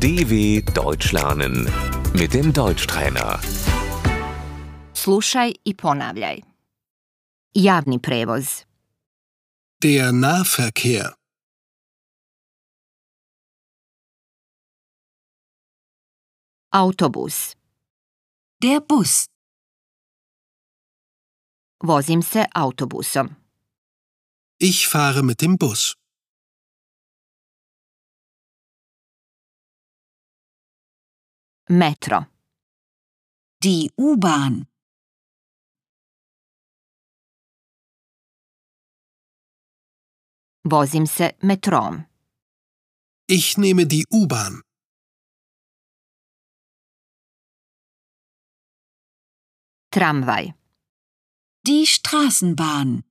DW Deutsch lernen mit dem Deutschtrainer. Slušaj i ponavljaj. Javni prevoz. Der Nahverkehr. Autobus. Der Bus, Vozim se autobusom. Ich fahre mit dem Bus. Metro. die U-Bahn, Vozim se metrom. Ich nehme die U-Bahn. Tramvaj. die Straßenbahn,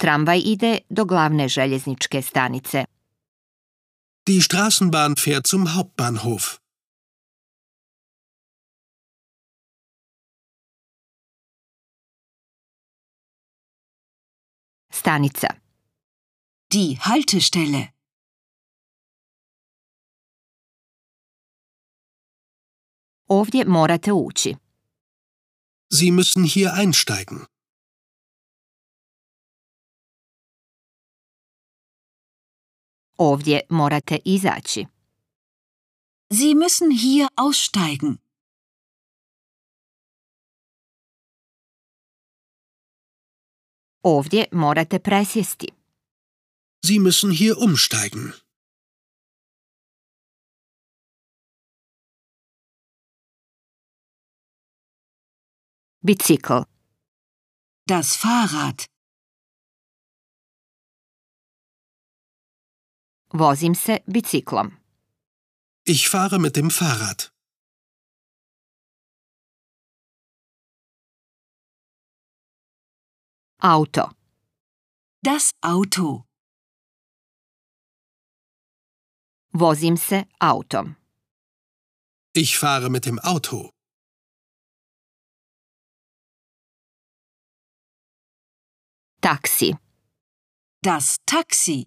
Tramvaj ide do glavne željezničke stanice. Die Straßenbahn fährt zum Hauptbahnhof. Stanica. die Haltestelle, Ovdje morate ući. Sie müssen hier einsteigen. Ovdje morate izaći. Sie müssen hier aussteigen. Ovdje morate presjesti. Sie müssen hier umsteigen. Bicikl. Das Fahrrad, Vozim se biciklom. Ich fahre mit dem Fahrrad. Auto. das Auto, Vozim se autom. Ich fahre mit dem Auto. Taksi. das Taxi.